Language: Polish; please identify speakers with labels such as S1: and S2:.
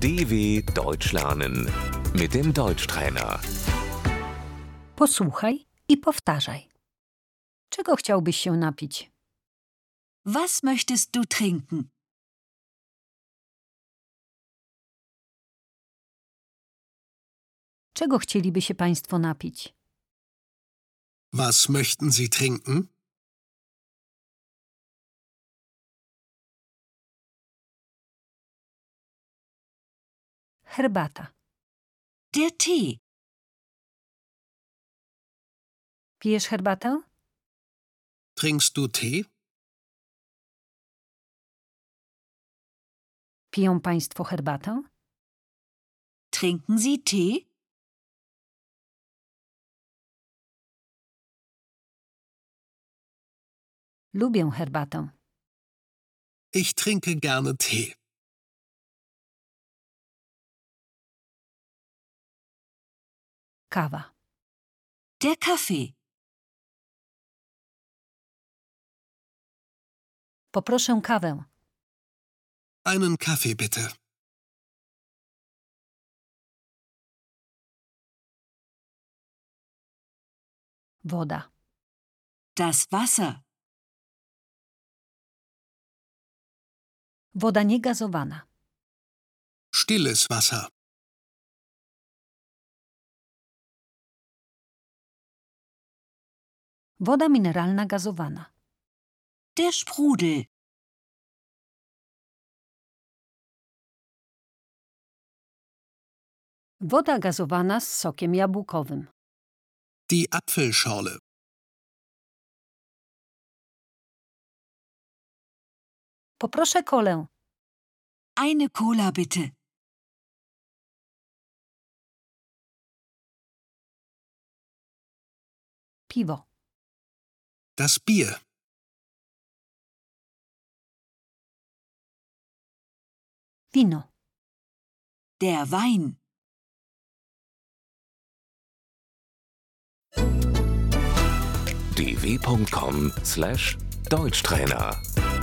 S1: DW Deutsch lernen mit dem Deutschtrainer.
S2: Posłuchaj i powtarzaj. Czego chciałbyś się napić?
S3: Was möchtest du trinken?
S2: Czego chcieliby się Państwo napić?
S4: Was möchten Sie trinken?
S2: Herbata,
S3: Der Tee.
S2: Pijesz herbatę?
S4: Trinkst du Tee?
S2: Piją Państwo herbatę?
S3: Trinken Sie Tee?
S2: Lubię herbatę.
S4: Ich trinke gerne Tee.
S2: Kawa,
S3: Der Kaffee.
S2: poproszę kawę.
S4: Einen Kaffee bitte.
S2: Woda,
S3: Das Wasser.
S2: woda niegazowana.
S4: Stilles Wasser.
S2: Woda mineralna gazowana.
S3: Der Sprudel.
S2: Woda gazowana z sokiem jabłkowym.
S4: Die Apfelschorle.
S2: Poproszę kolę.
S3: Eine Cola bitte.
S2: Piwo,
S4: Das Bier.
S2: wino,
S3: Der Wein.
S1: dw.com/deutschtrainer